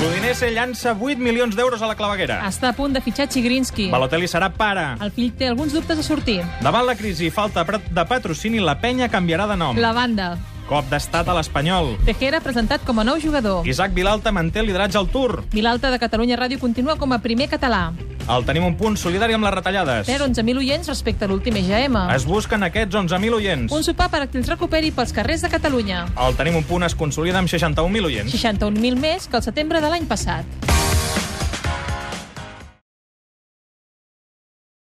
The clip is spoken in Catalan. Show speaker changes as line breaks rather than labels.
MLS llança 8 milions d'euros a la claveguera.
Està a punt de fitxar Chigrinsky.
Balotelli serà pare.
El fill té alguns dubtes a sortir.
Davant la crisi i falta de patrocini, la penya canviarà de nom.
La banda.
Cop d'estat a l'Espanyol.
Tejera presentat com a nou jugador.
Isaac Vilalta manté el lideratge al Tour.
Vilalta de Catalunya Ràdio continua com a primer català.
El tenim un punt solidari amb les retallades.
Perd 11.000 oients respecte a l'últim EGM.
Es busquen aquests 11.000 oients.
Un sopar per a qui els recuperi pels carrers de Catalunya.
El tenim un punt es consolida amb 61.000 oients.
61.000 més que el setembre de l'any passat.